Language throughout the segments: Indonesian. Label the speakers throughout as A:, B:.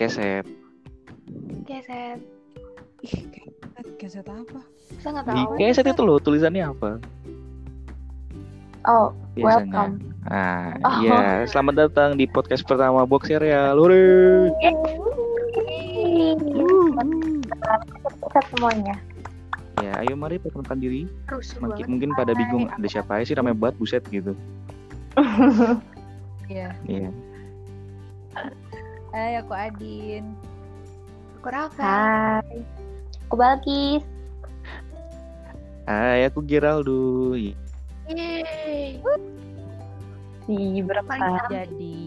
A: Keset.
B: Keset.
C: Ih, keset, keset apa?
B: Saya nggak
A: Di
B: tahu.
A: keset itu loh tulisannya apa?
B: Oh,
A: Biasanya.
B: welcome.
A: Ah,
B: Oh.
A: iya. Selamat datang di podcast pertama Box Serial. Hore.
B: Yeay. Kita semuanya.
A: Ya, ayo mari perkenalkan diri.
B: Rusuh
A: Mungkin, mungkin pada bingung ada siapa aja sih ramai banget buset gitu.
C: Iya.
A: Iya.
C: Hai, aku Adin.
B: Aku Rafa.
D: Hai. Aku Balkis.
A: Hai, aku Geraldo. Iya.
B: Yeay.
D: Si
B: Paling
D: berempat.
B: sama.
C: Jadi,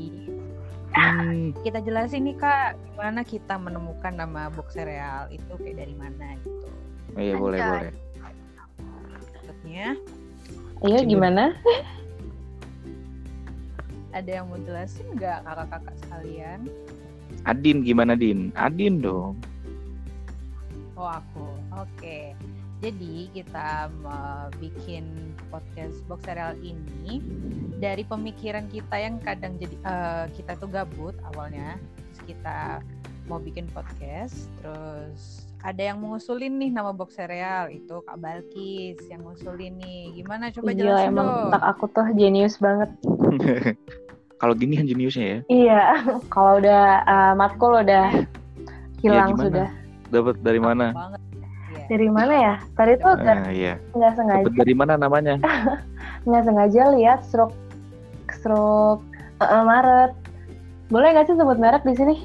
A: Hmm,
C: kita jelasin nih Kak, gimana kita menemukan nama box serial itu kayak dari mana gitu.
A: iya boleh
B: Anjay.
A: boleh.
C: Maksudnya,
D: Iya
A: Cibur.
D: gimana?
C: ada yang mau jelasin nggak kakak-kakak sekalian?
A: Adin gimana Din? Adin dong.
C: Oh aku, oke. Jadi kita eh, bikin podcast box serial ini dari pemikiran kita yang kadang jadi eh, kita tuh gabut awalnya, terus kita mau bikin podcast, terus ada yang mengusulin nih nama box serial itu Kak Balkis yang ngusulin nih. Gimana coba
D: Gila
C: jelasin
D: emang
C: dong.
D: otak aku tuh jenius banget.
A: Kalau gini kan jeniusnya ya.
D: Iya. Kalau udah eh, matkul udah hilang
A: gimana?
D: sudah.
A: Dapat dari mana?
C: Banget. Iya.
D: Dari mana ya? Tadi tuh nggak
A: Ah, iya.
D: nggak sengaja
A: Dapat dari mana namanya?
D: nggak sengaja lihat stroke stroke eh, eh, Maret. Boleh nggak sih sebut merek di sini?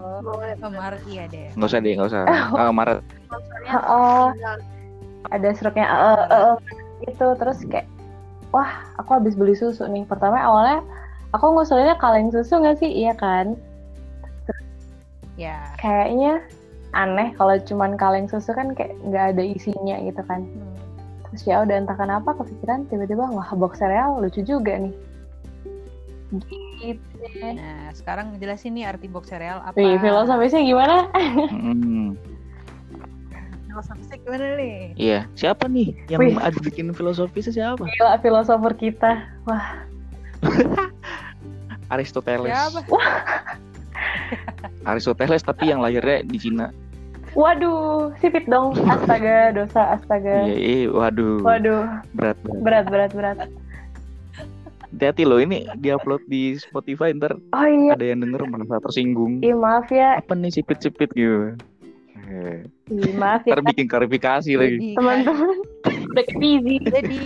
C: Oh,
B: Boleh.
C: Omar, iya deh.
A: Nggak usah deh, nggak usah. Ah, Maret.
B: Sponsornya
D: Oh,
B: tinggal.
D: ada stroke-nya eh, eh, eh, gitu. Terus kayak wah, aku habis beli susu nih. Pertama awalnya aku ngusulinnya kaleng susu nggak sih? Iya kan?
C: Ya.
D: kayaknya aneh kalau cuman kaleng susu kan kayak nggak ada isinya gitu kan
C: Hmm.
D: terus ya udah entah kenapa kepikiran tiba-tiba wah box sereal lucu juga nih gitu deh.
C: Nah, sekarang jelasin nih arti box serial apa.
D: Wih, filosofisnya gimana?
A: Hmm,
C: Filosofisnya gimana nih?
A: iya. Siapa nih yang
D: Wih.
A: ada bikin filosofisnya siapa?
D: Gila, filosofer kita.
A: Aristoteles.
C: Siapa?
A: Aristoteles tapi yang lahirnya di Cina.
D: Waduh, sipit dong. Astaga, dosa, astaga.
A: Iya, iya, waduh.
D: Waduh,
A: Berat banget.
D: berat, berat, berat.
A: Hati-hati loh ini diupload di Spotify ntar
D: Oh iya,
A: ada yang denger merasa tersinggung.
D: Ih, maaf ya.
A: Apa nih sipit-sipit gitu. Eh,
D: Ih, maaf ya,
A: Ntar bikin klarifikasi lagi.
C: Jadi,
D: teman-teman. Udah busy.
C: jadi jadi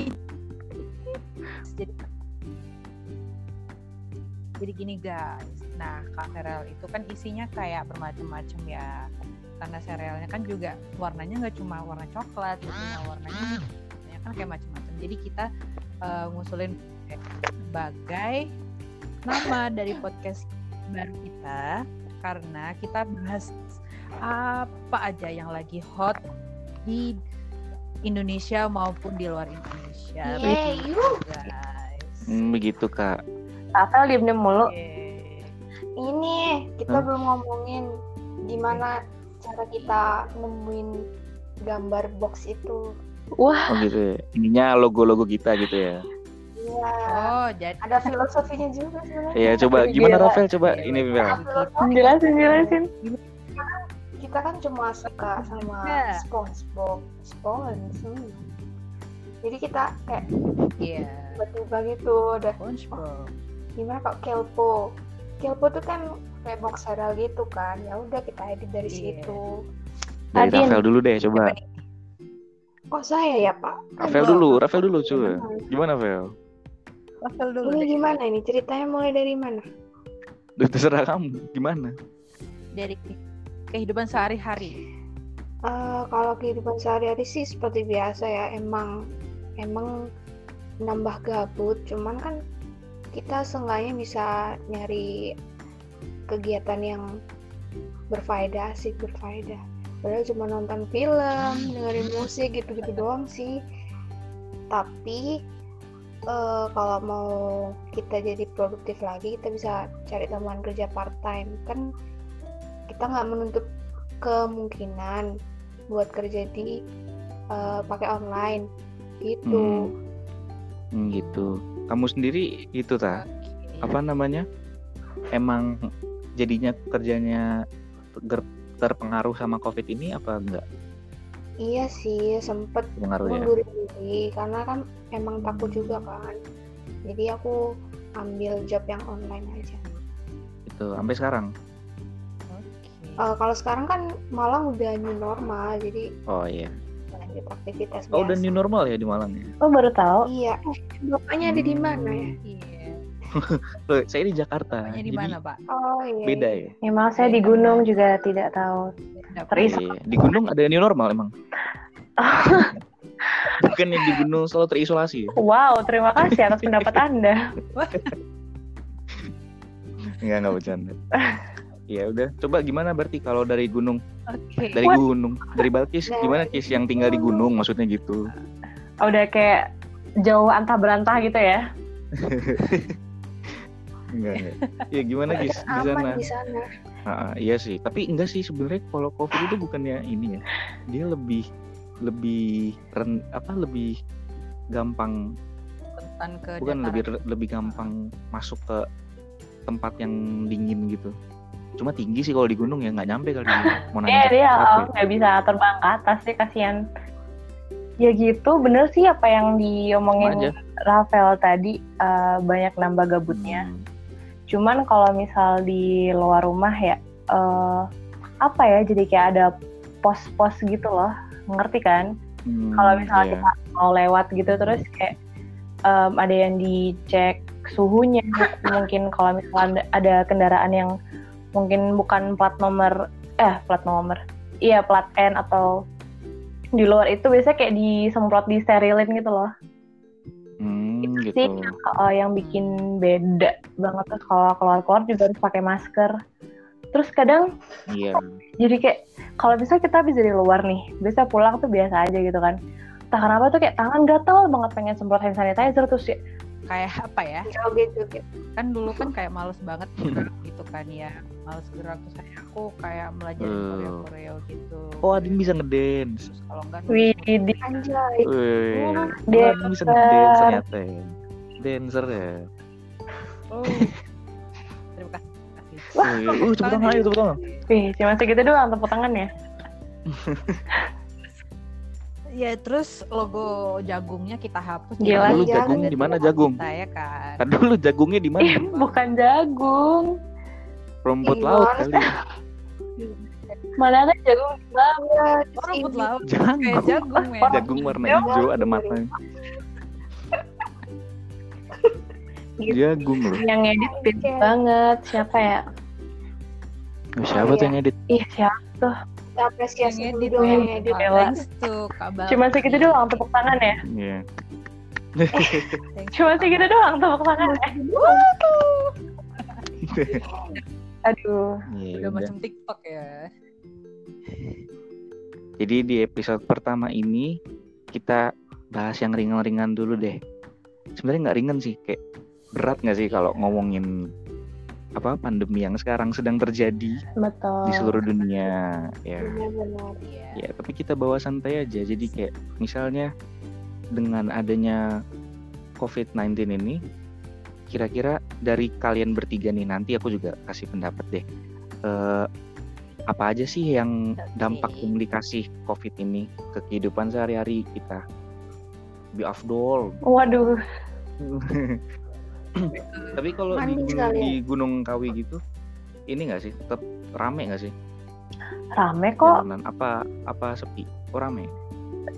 C: jadi gini guys nah kak Ferel itu kan isinya kayak bermacam-macam ya karena serealnya kan juga warnanya nggak cuma warna coklat nggak cuma warnanya ya kan kayak macam-macam jadi kita eh, ngusulin eh, sebagai nama dari podcast baru kita karena kita bahas apa aja yang lagi hot di Indonesia maupun di luar Indonesia.
B: Yeay,
C: Begitu,
B: yuh.
C: guys.
A: Hmm, begitu kak.
D: Rafael diem-diem mulu.
C: Yeay.
B: Ini kita belum ngomongin gimana cara kita nemuin gambar box itu.
A: Oh gitu ya. Ininya logo-logo kita gitu ya.
B: Iya.
C: Oh, jadi
B: Ada filosofinya juga sebenarnya.
A: Iya coba
D: Gila.
A: gimana Rafael coba ini Rafael.
D: Jelasin, jelasin.
B: Kita kan cuma suka sama
C: Iya.
B: SpongeBob, Sponge. hmm. Jadi kita kayak
C: Iya.
B: tiba-tiba gitu udah
C: SpongeBob.
B: gimana kok Kelpo. Kelpo tuh kan kayak box serial gitu kan. Ya udah kita edit dari
C: Iya.
B: situ.
A: Dari
D: Adin.
A: Rafael dulu deh coba.
B: Kok saya ya, Pak? Iya.
A: Rafael
B: Aduh.
A: dulu, Rafael dulu coba. Gimana Rafael?
C: Rafael dulu.
B: Ini
C: deh.
B: gimana ini? Ceritanya mulai dari mana?
A: Duh, terserah kamu. Gimana?
C: Dari kehidupan sehari-hari.
B: Eh, kalau kehidupan sehari-hari sih seperti biasa ya emang emang nambah gabut cuman kan kita seenggaknya bisa nyari kegiatan yang berfaedah sih berfaedah padahal cuma nonton film dengerin musik gitu-gitu doang sih tapi eh, kalau mau kita jadi produktif lagi kita bisa cari tambahan kerja part time kan kita nggak menuntut kemungkinan buat kerja di eh, pakai online gitu
A: Hmm. Hmm, gitu. Kamu sendiri itu ta?
C: Oke.
A: Apa namanya? Emang jadinya kerjanya ter- terpengaruh sama covid ini apa enggak
B: Iya sih, sempet
A: pengaruh ya
B: mundur diri karena kan emang takut
A: Hmm.
B: juga kan. Jadi aku ambil job yang online aja.
A: itu sampai sekarang
C: Oke.
B: Eh, kalau sekarang kan malah udah new normal, jadi
A: oh iya
B: lanjut aktivitas
A: oh udah
B: biasa.
A: new normal ya di Malang ya
D: Oh baru tahu.
B: Iya, eh, bapaknya ada di mana ya?
C: Iya.
A: Loh, saya di Jakarta
C: Pokoknya di
A: Nah, jadi
C: mana, Pak?
B: Oh iya.
A: beda ya
D: Memang saya di gunung juga tidak tahu.
C: Nggak
D: Teris-
A: Iya, iya. di gunung ada new normal emang bukan yang di gunung selalu terisolasi ya?
D: Wow, terima kasih atas pendapat Anda.
A: Enggak, enggak bercanda. ya udah, coba gimana berarti kalau dari gunung,
C: Oke.
A: dari
D: What?
A: gunung, dari Balkis
B: Dari
A: gimana Kis yang tinggal di gunung maksudnya gitu.
D: Oh, udah kayak jauh antah berantah gitu ya.
A: Enggak, enggak. Ya gimana Kis di sana?
B: Aman di sana.
A: Ah, iya sih, tapi enggak sih sebenarnya kalau Covid itu bukannya ini ya. Dia lebih lebih ren, apa lebih gampang
C: Ikutan ke
A: bukan
C: dataran.
A: lebih lebih gampang masuk ke tempat yang dingin gitu. Cuma tinggi sih kalau di gunung ya nggak nyampe kali. Mau ya?
D: Eh,
A: nanjak
D: dia
A: apa
D: oh, nggak bisa terbang ke atas sih, kasihan. Ya gitu, bener sih apa yang
A: ya.
D: diomongin
A: Aja.
D: Rafael tadi, eh, banyak nambah gabutnya.
A: Hmm.
D: Cuman kalau misal di luar rumah ya, eh, apa ya, jadi kayak ada pos-pos gitu loh, ngerti kan?
A: Hmm,
D: Kalau misalnya
A: iya.
D: kita mau lewat gitu terus kayak em, ada yang dicek suhunya mungkin kalau misalnya ada- ada kendaraan yang mungkin bukan plat nomor eh plat nomor iya plat N atau di luar itu biasanya kayak disemprot di sterilin gitu loh
A: Hmm,
D: itu
A: gitu.
D: sih yang, eh, yang bikin beda banget tuh kalau keluar-keluar juga harus pakai masker terus kadang
A: Iya.
D: jadi kayak kalau bisa kita habis dari luar nih bisa pulang tuh biasa aja gitu kan entah kenapa tuh kayak tangan gatel banget pengen semprot hand sanitizer terus ya
C: kayak apa ya?
B: Oh, Joget-joget.
C: Kan dulu kan kayak males banget gerak gitu kan ya. Males gerak terus kayak aku kayak belajar
A: Eh.
C: koreo-koreo gitu.
A: Oh, Adin bisa ngedance.
C: Terus kalau enggak
D: widih
B: Anjay.
A: Wih,
D: Iya.
B: Oh,
A: oh, Adin bisa ngedance ternyata ya. Dancer ya.
C: Oh. Terima kasih. Terima kasih.
A: Wih, uh, tepuk tangan ayo tepuk tangan.
D: wih cuma segitu doang tepuk tangan ya
C: Ya terus logo jagungnya kita hapus.
D: Gila.
A: Dulu
B: Jagung.
A: jagung
D: iya.
A: di mana jagung?
C: Kita ya kan.
A: Kan dulu jagungnya di mana?
D: Ih, bukan jagung
A: Rumput
B: Di
A: laut
B: luar.
A: kali. ya,
D: mana ada jagung di Bali?
B: Ya,
C: Oh, rumput
B: ini.
C: laut.
A: Jagung.
C: Kayak jagung ya.
A: Jagung warna hijau ada matanya.
D: Gitu.
A: Iya, Jagung loh.
D: yang ngedit pinter
B: Oke.
D: banget siapa ya
A: Oh, siapa tuh yang edit?
D: ih siapa
B: Kita apresiasi
C: Yang edit,
B: dulu
C: ya.
B: dong yang
D: yang
B: edit.
D: edit. Bella.
C: Thanks to Kak Bal.
D: cuma segitu doang tepuk tangan ya
A: Iya.
C: Thanks to
D: cuma
C: Kak
D: segitu doang tepuk tangan ya aduh
A: Iya,
C: Udah
A: udah.
C: macam TikTok ya.
A: Jadi di episode pertama ini kita bahas yang ringan-ringan dulu deh. Sebenarnya nggak ringan sih, kayak berat nggak sih kalau ngomongin apa pandemi yang sekarang sedang terjadi
D: betul
A: di seluruh dunia ya.
B: Benar-benar.
C: Iya.
A: Ya, tapi kita bawa santai aja. Jadi kayak misalnya dengan adanya COVID-19 ini kira-kira dari kalian bertiga nih nanti aku juga kasih pendapat deh. Eh, apa aja sih yang dampak
C: Oke.
A: implikasi COVID ini ke kehidupan sehari-hari kita? Be afdol.
D: waduh
A: Tapi kalau di
B: Mandi
A: gunung,
B: sekali ya.
A: di Gunung Kawi gitu ini nggak sih tetap rame nggak sih
D: rame kok
A: jalanan? Apa apa sepi? Oh rame.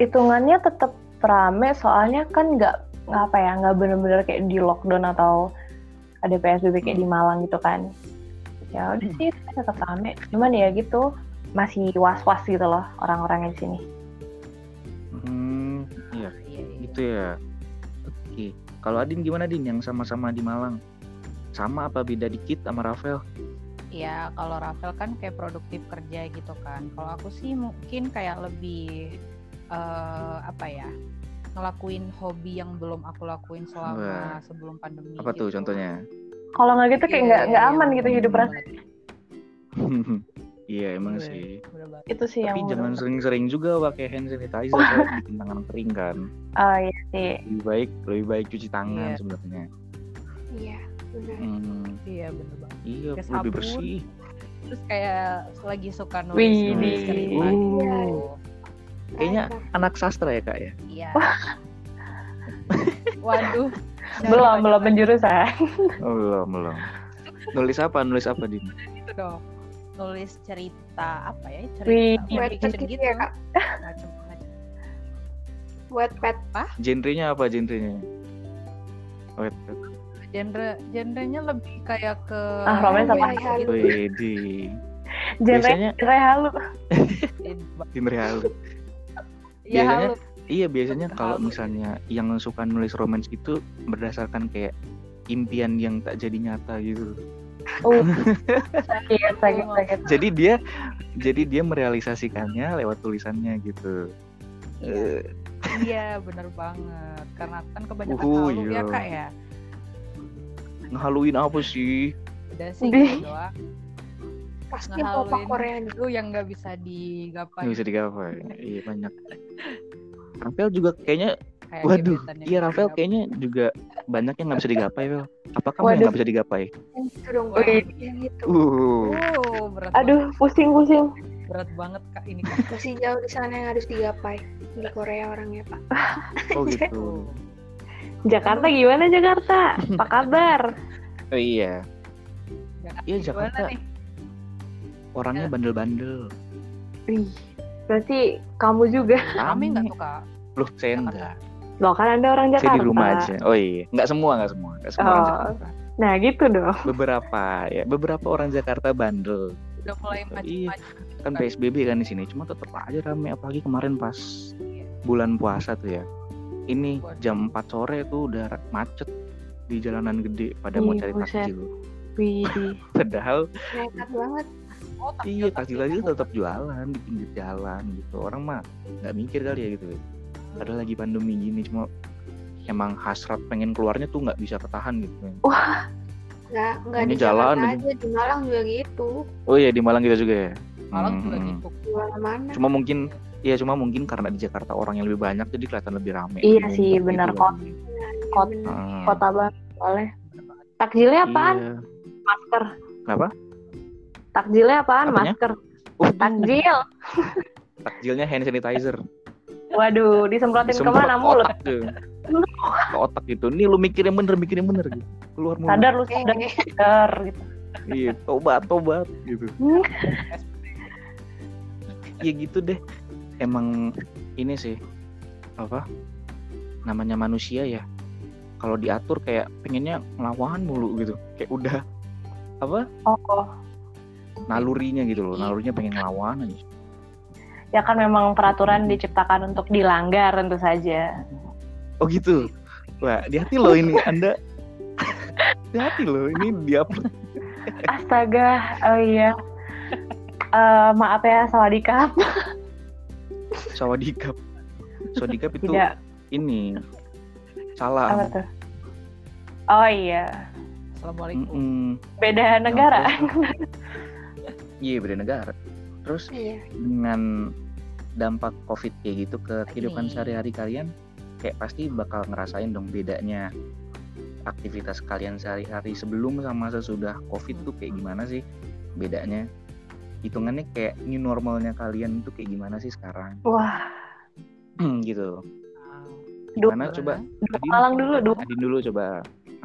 D: hitungannya tetap rame soalnya kan nggak nggak apa ya nggak bener-bener kayak di lockdown atau ada psbb kayak di Malang gitu kan ya udah sih tetap rame cuman ya gitu masih was-was gitu loh orang-orang yang di sini
A: Hmm, iya.
C: Iya, iya.
A: gitu ya oke kalau Adin gimana Din yang sama-sama di Malang sama apa beda dikit sama Rafael
C: Ya kalau Rafael kan kayak produktif kerja gitu kan. Kalau aku sih mungkin kayak lebih eh, apa ya ngelakuin hobi yang belum aku lakuin selama sebelum pandemi.
A: apa tuh
C: gitu.
A: contohnya
D: kalau nggak gitu kayak
C: Iya,
D: nggak nggak
C: iya,
D: aman
C: iya.
D: gitu hidup rasanya
A: iya emang
C: Gue.
A: sih
C: Bener banget.
D: itu sih
A: tapi
D: yang
A: jangan
D: bener-bener-
A: sering-sering juga pakai hand sanitizer kalau bikin tangan kering kan
D: Ah, iya sih
A: lebih baik lebih baik cuci tangan
C: Iya.
A: sebenarnya
B: Iya, benar.
A: Hmm,
C: Iya bener banget.
A: iya
C: Pakai
A: lebih
C: sabun.
A: bersih.
C: Terus kayak lagi suka nulis
D: Wih,
C: nulis
A: di-
C: cerita gitu.
A: Kayaknya
B: Rasa.
A: anak sastra ya kak ya.
C: Iya. Waduh. Nah,
D: belum belum ya. penjurusan
A: Oh, belum belum. Nulis apa? Nulis apa Din?
C: Itu dong. Nulis cerita apa ya?
D: Wih. iya,
C: Cerita
B: Wattpad
C: fiction
B: gitu
C: gitu.
B: ya, Kak?
C: Macam-macam.
B: Wattpad.
A: Genrenya apa genrenya? Wait,
C: Genre genrenya lebih kayak ke gitu.
D: Ah, romance
B: apa?
C: iya.
A: wait, di
D: genre
A: Biasanya-
D: genre halu
A: genre halu.
C: Ya
A: Biasanya-
C: halo.
A: Iya biasanya
C: Halu.
A: kalau misalnya yang suka nulis romans itu berdasarkan kayak impian yang tak jadi nyata gitu.
D: uh sakit Iya, sakit sakit
A: Jadi dia jadi dia merealisasikannya lewat tulisannya gitu.
C: Iya.
A: Eh,
C: Iya, bener banget. Karena kan kebanyakan
A: Uhuh,
C: halu
A: iya.
C: ya kak ya.
A: ngehaluin apa sih?
C: Udah sih
D: Dih.
C: gitu doang.
B: Pasti
C: Ngehaluin.
B: papa Korean.
C: Lu yang nggak bisa digapai.
A: Nggak bisa digapai. Iya banyak. Rafael juga kayaknya,
C: Kayak
A: waduh,
C: gebetan yang
A: iya
C: nggak
A: Rafael
C: digapai.
A: kayaknya juga banyak yang nggak bisa digapai, Vel. Apa kamu yang
D: Waduh.
A: nggak bisa digapai?
B: Yang itu dong,
D: Wih.
B: Kak. Yang itu.
A: Uh,
C: Oh, berat
D: aduh pusing pusing
C: banget. berat banget kak ini kak.
B: Masih jauh di sana yang harus digapai. Di Korea orangnya, Pak.
A: oh gitu.
D: Jakarta gimana Jakarta apa kabar
A: Oh iya, Iya,
C: Ya, Gimana
A: Jakarta.
C: nih?
A: orangnya
C: Ya.
A: bandel-bandel.
D: Wih, berarti kamu juga
C: Rame
A: Rame.
C: nggak tuh kak?
A: Loh, saya
C: Jakarta.
A: enggak.
D: loh kan anda orang
A: Saya
D: Jakarta
A: di rumah aja. Oh iya, enggak semua, enggak semua. Enggak semua orang
D: Oh.
A: Jakarta.
D: nah gitu dong
A: Beberapa ya, beberapa orang Jakarta bandel.
C: Udah mulai
A: Iya.
C: macam-macam. gitu,
A: Kan
C: Kak.
A: PSBB kan di sini, cuma tetap aja rame apalagi kemarin pas
C: Iya.
A: bulan puasa tuh ya. Ini
C: Waduh.
A: jam 4 sore tuh udah ra- macet di jalanan gede pada mau
D: Ih,
A: cari
D: Iya, buset.
A: takjil.
D: Wih,
A: Padahal
B: Nekat banget.
C: Oh, takjil,
A: iya takjil aja
C: takjil.
A: tetap jualan di pinggir jalan gitu. Orang mah nggak mikir kali ya gitu. Padahal lagi pandemi gini cuma emang hasrat pengen keluarnya tuh nggak bisa ketahan gitu.
B: Nggak, nggak
A: Ini
B: di jalan
A: jalan
B: aja. Di Malang juga gitu.
A: Oh iya di Malang gitu juga ya.
C: Malang juga
A: Hmm.
C: gitu.
B: Di mana-mana.
A: Cuma mungkin ya cuma mungkin karena di Jakarta orang yang lebih banyak jadi kelihatan lebih rame.
D: Iya
A: Lebih
D: sih,
A: ngumpet
D: benar
A: gitu
D: kok.
A: kan.
D: Kot-
B: Iya, Bener.
A: Hmm.
D: kota banget soalnya takjilnya apaan
A: Iya.
D: masker
A: Kenapa?
D: takjilnya apaan
A: Apanya?
D: masker
A: Uh,
D: takjil
A: takjilnya hand sanitizer.
D: waduh disemprotin
A: Disemprot Oh.
D: kemana
A: ke
D: mulut
A: otak tuh. Ke otak gitu. Nih lu mikir yang bener, mikir yang bener gitu. Keluar mulut.
D: sadar lu
B: Eh,
D: sadar sadar gitu
A: Iya, tobat, tobat gitu.
D: Hmm.
A: ya gitu deh emang ini sih apa namanya manusia ya kalau diatur kayak pengennya ngelawan mulu gitu kayak udah apa
D: oh, oh.
A: nalurinya gitu loh nalurinya pengen ngelawan aja
D: ya kan memang peraturan diciptakan untuk dilanggar tentu saja
A: oh gitu wah di hati loh ini anda di hati loh ini dia Eh.
D: astaga oh iya Eh, maaf ya sawadikap
A: sawadikap sawadikap itu
D: tidak
A: ini
D: apa
A: salam
D: tuh oh iya
C: Assalamualaikum.
A: Mm-mm.
D: beda negara
A: iya beda negara terus
B: Iya.
A: dengan dampak covid kayak gitu ke kehidupan
C: Ini.
A: sehari-hari kalian kayak pasti bakal ngerasain dong bedanya aktivitas kalian sehari-hari sebelum sama sesudah covid tuh kayak gimana sih bedanya hitungannya kayak new normalnya kalian tuh kayak gimana sih sekarang
D: wah
A: gitu
D: Dua
A: gimana coba
D: dua
A: Adin?
D: malang dulu dua
A: Adin dulu coba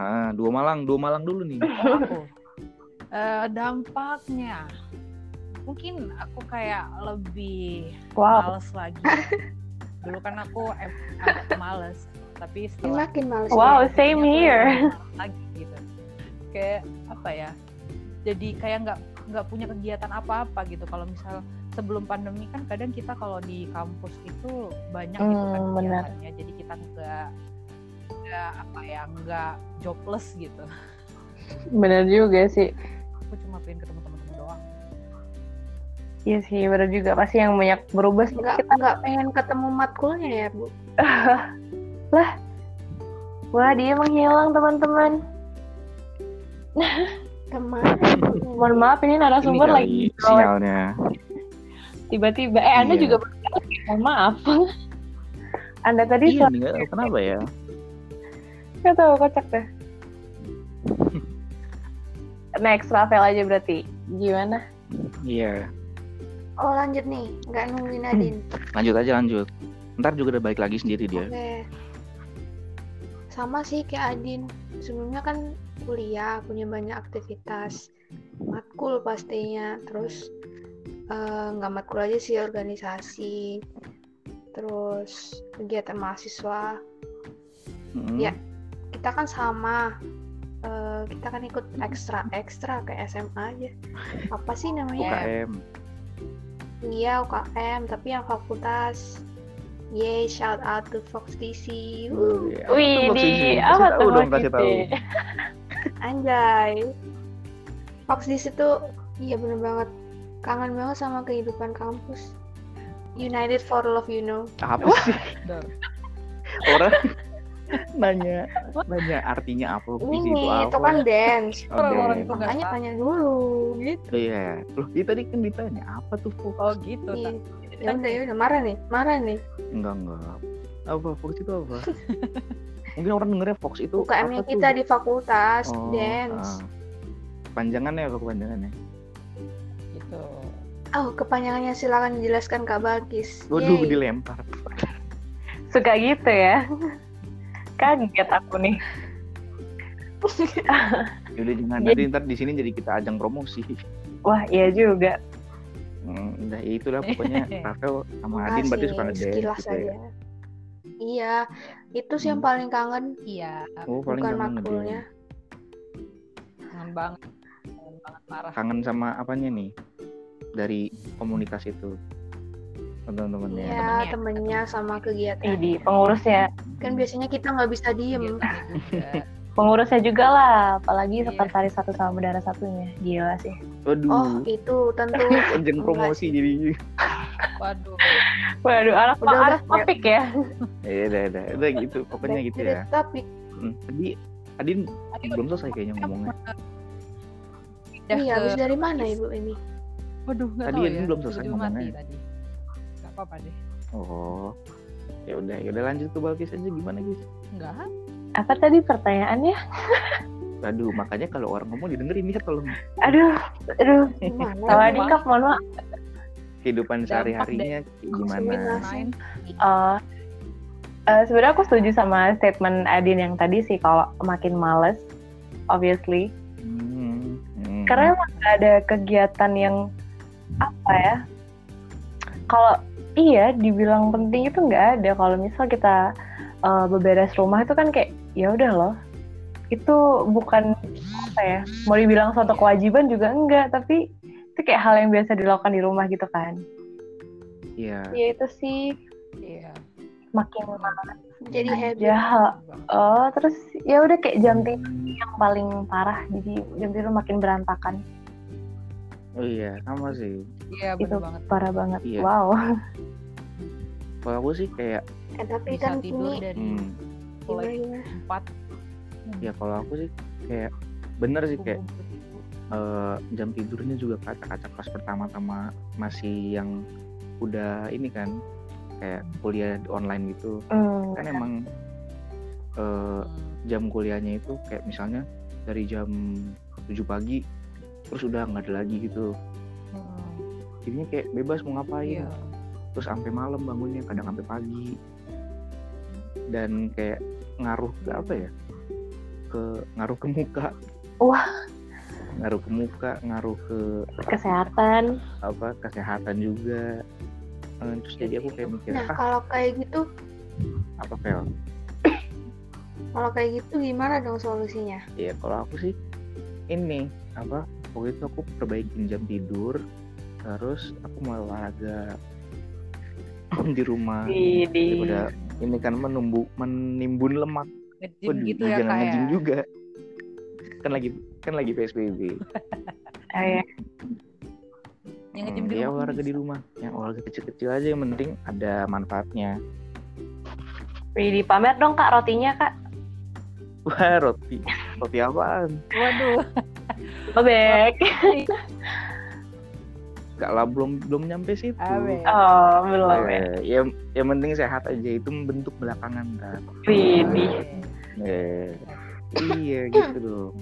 A: ah dua malang dua malang dulu nih
C: Aku. Nah, Eh, dampaknya mungkin aku kayak lebih
D: wow
C: males lagi. Dulu kan aku em- agak males, tapi
B: Ini
C: setelah
B: makin males.
D: Wow,
B: ya.
D: same
C: Aku
D: here.
C: males gitu. Lagi gitu. Kayak apa ya? Jadi kayak nggak nggak punya kegiatan apa-apa gitu. Kalau misal sebelum pandemi kan kadang kita kalau di kampus itu banyak gitu kan
D: Hmm, benar.
C: kegiatannya. Jadi kita nggak nggak apa ya nggak jobless gitu.
D: bener juga sih
C: Aku cuma pengen ketemu teman-teman doang.
D: iya sih bener juga pasti yang banyak berubah sih
B: Nggak, nggak pengen ketemu matkulnya ya, Bu.
D: wah dia menghilang teman-teman
B: Teman.
D: mohon maaf
A: ini
D: ini narasumber
A: kali
D: lagi
A: sinyalnya
D: tiba-tiba eh anda
A: Iya.
D: juga mohon maaf anda tadi
A: iya
D: suara
A: nih nggak tahu kenapa ya
D: nggak tahu kocak deh Next Rafael aja berarti. Gimana?
A: Iya,
B: Oh lanjut nih, nggak nungguin Nadine.
A: lanjut aja lanjut. Ntar juga udah balik lagi sendiri dia.
B: Oke. Sama sih kayak Adin. Sebelumnya kan kuliah, punya banyak aktivitas. Matkul pastinya. Terus eh, nggak matkul aja sih organisasi. Terus kegiatan mahasiswa.
A: Mm-mm.
B: Iya. Kita kan sama. Eh, kita kan ikut ekstra-ekstra kayak SMA aja. Apa sih namanya?
A: UKM.
B: Iya UKM, tapi yang fakultas. Yeay, shout out to Fox DC. Wuh.
A: Iya.
D: Wih,
A: Tunggu
D: di
A: sini.
D: apa
A: Kasih
D: tuh?
A: tahu dong,
D: Mas
A: kasih
D: Siti?
A: tahu.
B: Anjay. Fox di situ, iya bener banget. Kangen banget sama kehidupan kampus. United for love, you know.
A: Apa sih
C: Dor.
A: orang nanya nanya artinya apa puisi itu
B: Ini,
A: apa? Oh,
B: itu kan dance.
A: Oke.
C: Orang-orang itu nggak
B: Makanya
C: tahu.
B: tanya dulu.
C: gitu
A: Iya, loh dia tadi kan ditanya apa tuh Fox?
C: oh gitu
B: Iya.
C: tak.
B: Ya udah, ya udah marah nih, marah nih.
A: Enggak enggak. Apa Fox itu apa? Mungkin orang dengernya Fox itu
B: UKM
A: apa
B: yang
A: tuh?
B: kita di fakultas
A: Oh,
B: dance. Iya,
A: ah. Panjangannya apa ya? kepanjangannya?
C: gitu
B: Oh, kepanjangannya silakan dijelaskan Kak Balkis.
A: ah. Waduh
B: Yeay.
A: dilempar.
D: Suka gitu ya. Kaget aku nih.
A: Yaudah
B: Iya.
A: jangan
D: Jadi-
A: nanti ntar di sini jadi kita ajang promosi.
D: Wah, iya juga.
A: Hmm, udah ya itulah pokoknya Rafael sama Adin berarti
B: Makasih,
A: suka ngedance
B: Sekilas
A: gitu ya.
B: aja. Iya, itu sih yang
A: Hmm.
B: paling kangen,
C: iya
A: Oh paling
B: bukan
A: kangen
B: makulnya.
A: ngedance.
C: kangen banget kangen banget parah
A: Kangen sama apanya nih dari komunitas itu teman-temannya.
B: Iya,
C: temennya.
B: temennya sama
D: Ih,
B: kegiatan.
D: Eh, di pengurusnya.
B: Kan biasanya kita nggak bisa diem.
A: Iya.
C: Kegiatannya gitu juga.
D: Pengurusnya juga lah, apalagi
C: Iya.
D: sekretaris satu sama bendara satunya. Gila sih.
A: Waduh,
B: Oh, itu tentu.
A: ajang
B: enggak
A: promosi jadi.
C: waduh
D: Waduh, anak
B: Udah,
D: udah,
B: udah.
D: topik ya.
A: Iya, udah, udah, udah gitu, pokoknya
B: back
A: gitu
B: to the
A: ya.
B: topic.
A: Hmm, Tadi Adin
C: Tadi
A: belum selesai kayaknya ngomongnya.
C: kan Pindah
B: Iya,
C: ke-
B: habis dari mana ibu ini?
C: Waduh, nggak
A: Tadi
C: tahu
A: Edwin
C: ya.
A: belum selesai
C: Tiba-tiba mati
A: ngomongnya.
C: tadi. Nggak apa-apa deh.
A: Oh, ya udah, ya udah lanjut ke Balkis aja gimana guys?
C: Nggak.
D: Apa tadi pertanyaannya?
A: Aduh, makanya kalau orang ngomong didengerin ya tolong
D: Aduh, aduh.
B: Gimana?
D: Salah
C: Emang.
D: dikap, mohon maaf.
A: kehidupan sehari-harinya kayak gimana?
C: Main.
B: Langsungin
D: Eh, eh, Sebenarnya aku setuju sama statement Adin yang tadi sih, kalau makin males, obviously.
A: Hmm, hmm.
D: karena emang nggak ada kegiatan yang apa ya kalau iya dibilang penting itu nggak ada kalau misal kita eh, beberes rumah itu kan kayak ya udah loh itu bukan apa ya mau dibilang suatu kewajiban juga enggak tapi itu kayak hal yang biasa dilakukan di rumah gitu kan
A: Iya.
D: ya itu sih
C: Iya.
D: makin
B: Jadi happy.
D: aja hal- oh terus ya udah kayak jam tidur yang paling parah jadi jam tidur makin berantakan
A: Oh iya, sama sih.
C: Iya,
D: itu
C: bener banget.
D: parah banget
A: Iya.
D: wow
A: Kalau aku sih kayak,
B: Eh, tapi
C: Bisa
B: kan
C: tidur
B: ini Nah,
C: dari
A: hmm,
C: mulai
B: gimana?
C: empat.
A: ya kalau aku sih kayak bener sih kayak
C: subuh.
A: eh, jam tidurnya juga kacak-kacak pas pertama-tama masih yang udah ini kan kayak kuliah online gitu
D: Hmm.
A: kan emang eh,
C: Hmm.
A: jam kuliahnya itu kayak misalnya dari jam 7 pagi terus udah nggak ada lagi gitu
C: Hmm.
A: jadinya kayak bebas mau ngapain
C: Iya.
A: terus sampai malam bangunnya kadang sampai pagi dan kayak ngaruh ke apa ya ke ngaruh ke muka
D: Wah.
A: ngaruh ke muka ngaruh ke
D: kesehatan
A: apa kesehatan juga Eh, terus jadi aku kayak mikir
B: Nah,
A: ah
B: kalau kayak gitu,
A: apa fel
B: kalau kayak gitu gimana dong solusinya?
A: ya kalau aku sih ini apa waktu itu aku perbaikin jam tidur terus aku mau olahraga di rumah
D: di di
A: daripada ini kan menumbu menimbun lemak
C: Nge-gym
A: Waduh,
C: gitu ya
A: jangan
C: kayak.
A: nge-gym juga kan lagi kan lagi psbb
D: Ah, ya.
C: Yang nge-gym
A: Hmm,
C: di
A: ya
C: rumah
A: olahraga di
C: bisa.
A: rumah yang olahraga kecil-kecil aja yang penting ada manfaatnya
D: Wih, di pamer dong kak rotinya kak
A: wah roti roti apaan
C: Waduh.
D: bebek
A: gak lah belum belum nyampe situ
C: Awe.
D: oh belum ya
A: Eh, ya yang penting sehat aja itu membentuk belakangan kan
D: Wih, di
A: iya gitu dong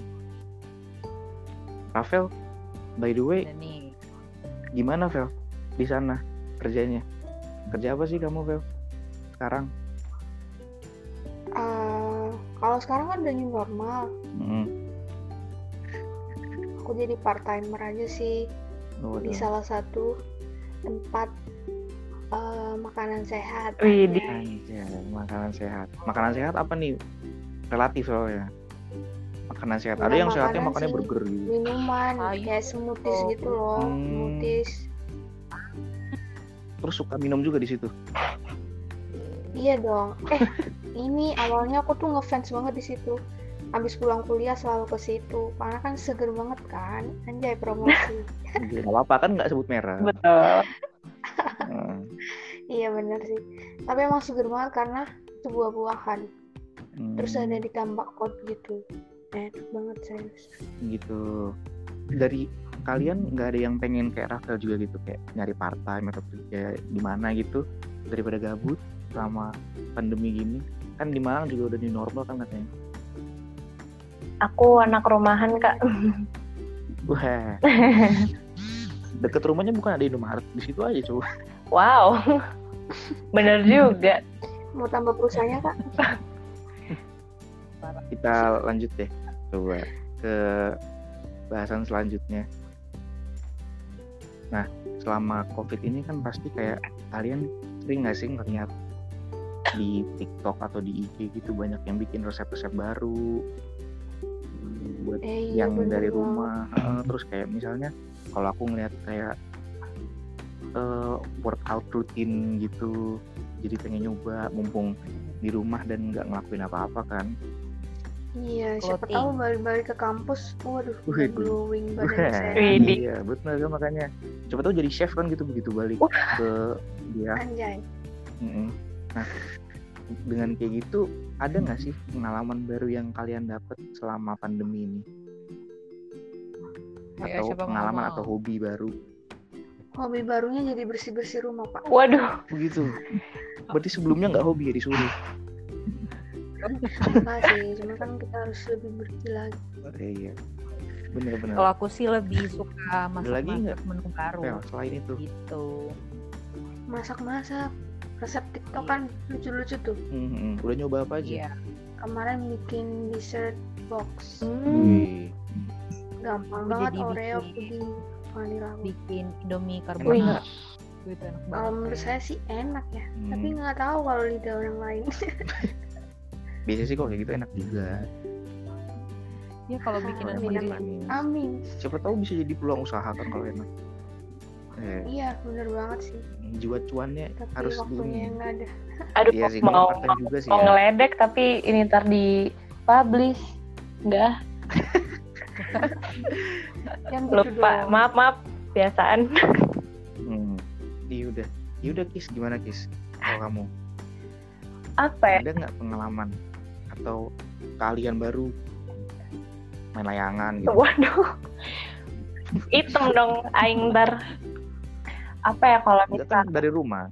A: Rafael, by the way,
C: Dan nih
A: gimana Vel di sana kerjanya? Kerja apa sih kamu Vel? Sekarang?
B: Eh, kalau sekarang kan udah new normal,
A: Mm.
B: aku jadi part timer aja sih
A: Oh, aduh.
B: di salah satu tempat eh, makanan sehat.
D: Wih, di-
A: Anjay, Iya, makanan sehat. Makanan sehat apa nih? Relatif soalnya. Makanan sehat. Ada
B: Bukan
A: yang sehatnya
B: makanan
A: makannya
B: sih.
A: burger gitu.
B: minuman
C: Ayo.
B: kayak smoothies gitu loh,
A: Hmm.
B: smoothies.
A: Terus suka minum juga di situ.
B: Iya dong. Eh, ini awalnya aku tuh ngefans banget di situ. Abis pulang kuliah selalu ke situ. Karena kan seger banget kan. Anjay promosi.
A: Gak apa-apa kan nggak sebut merah. Hmm,
D: Betul.
A: Heeh.
B: iya bener sih. Tapi emang seger banget karena itu buah-buahan.
A: Hmm,
B: Terus ada ditambah kot gitu. Enak banget serius.
A: gitu. Dari kalian nggak ada yang pengen kayak Rafael juga gitu kayak nyari part time atau kerja di mana gitu daripada gabut sama pandemi gini kan di Malang juga udah di normal kan katanya
D: Aku anak rumahan kak.
A: wah deket rumahnya bukan ada Indomaret di situ aja coba
D: Wow. Bener juga.
B: Mau tambah perusahaannya kak?
A: kita lanjut deh coba ke bahasan selanjutnya nah selama covid ini kan pasti kayak kalian sering nggak sih ngeliat di TikTok atau di IG gitu banyak yang bikin resep-resep baru buat
B: Eh, iya,
A: yang
B: bener
A: dari
B: banget.
A: rumah Eh, terus kayak misalnya kalau aku ngeliat kayak eh, workout rutin gitu jadi pengen nyoba mumpung di rumah dan nggak ngelakuin apa-apa kan
B: Iya, siapa
C: Clothing.
B: tahu balik-balik ke kampus. Waduh,
A: Waduh.
B: glowing badan saya.
A: Wih,
D: Widih.
A: Iya, benar kan makanya. Coba tuh jadi chef kan gitu begitu balik ke dia.
B: Anjay.
A: Mm-mm. Nah, dengan kayak gitu ada nggak sih pengalaman baru yang kalian dapat selama pandemi ini atau
C: Ayo, Iya, siapa mau
A: pengalaman
C: ngomong?
A: atau hobi baru?
B: Hobi barunya jadi bersih-bersih rumah pak.
D: Waduh.
A: Begitu. Berarti sebelumnya nggak hobi ya disuruh.
B: Enggak sih, cuma kan kita harus lebih bersih lagi.
A: Iya. Bener-bener.
C: Kalau aku sih lebih suka
A: lagi
C: masak-masak
A: nggak? Iya,
C: menu baru
A: Pel, ya, selain itu.
C: gitu.
B: Masak-masak, resep TikTok kan lucu-lucu tuh.
A: Mm-mm. Udah nyoba apa aja?
C: Iya.
B: Kemarin bikin dessert box,
A: Wih.
B: gampang
C: Aku
B: banget
C: jadi
B: Oreo
C: bikin-
B: puding vanilla.
C: Bikin
A: Wih.
C: Indomie carbonara. Gitu enak banget.
B: Kalau menurut saya sih enak ya,
A: Hmm.
B: tapi nggak tahu kalau lidah orang lain.
A: Biasanya sih kok kayak gitu enak juga.
C: Ya kalau bikinan
B: Enak.
C: sendiri.
B: Amin.
A: Siapa tahu bisa jadi peluang usaha kan kalau enak. Eh,
B: Iya, bener banget sih.
A: jiwa cuannya
B: Tapi
A: harus
B: waktunya
A: di
B: yang nggak ada.
D: Aduh
A: Iya sih,
D: mau
A: mau part time juga sih
D: mau
A: ya.
D: ngeledek tapi ini ntar di publish. Enggak,
B: Yang gitu
D: lupa.
B: doang.
D: Maaf, maaf. Biasaan.
A: Hmm. Iya udah, iya udah kis gimana kis? Kalau kamu
D: Apa
B: Eh.
D: ya?
A: ada nggak pengalaman atau keahlian baru main layangan gitu?
D: Waduh. Hitam dong aing ntar. Apa ya kalau
A: Nggak
D: misal
A: kan dari rumah.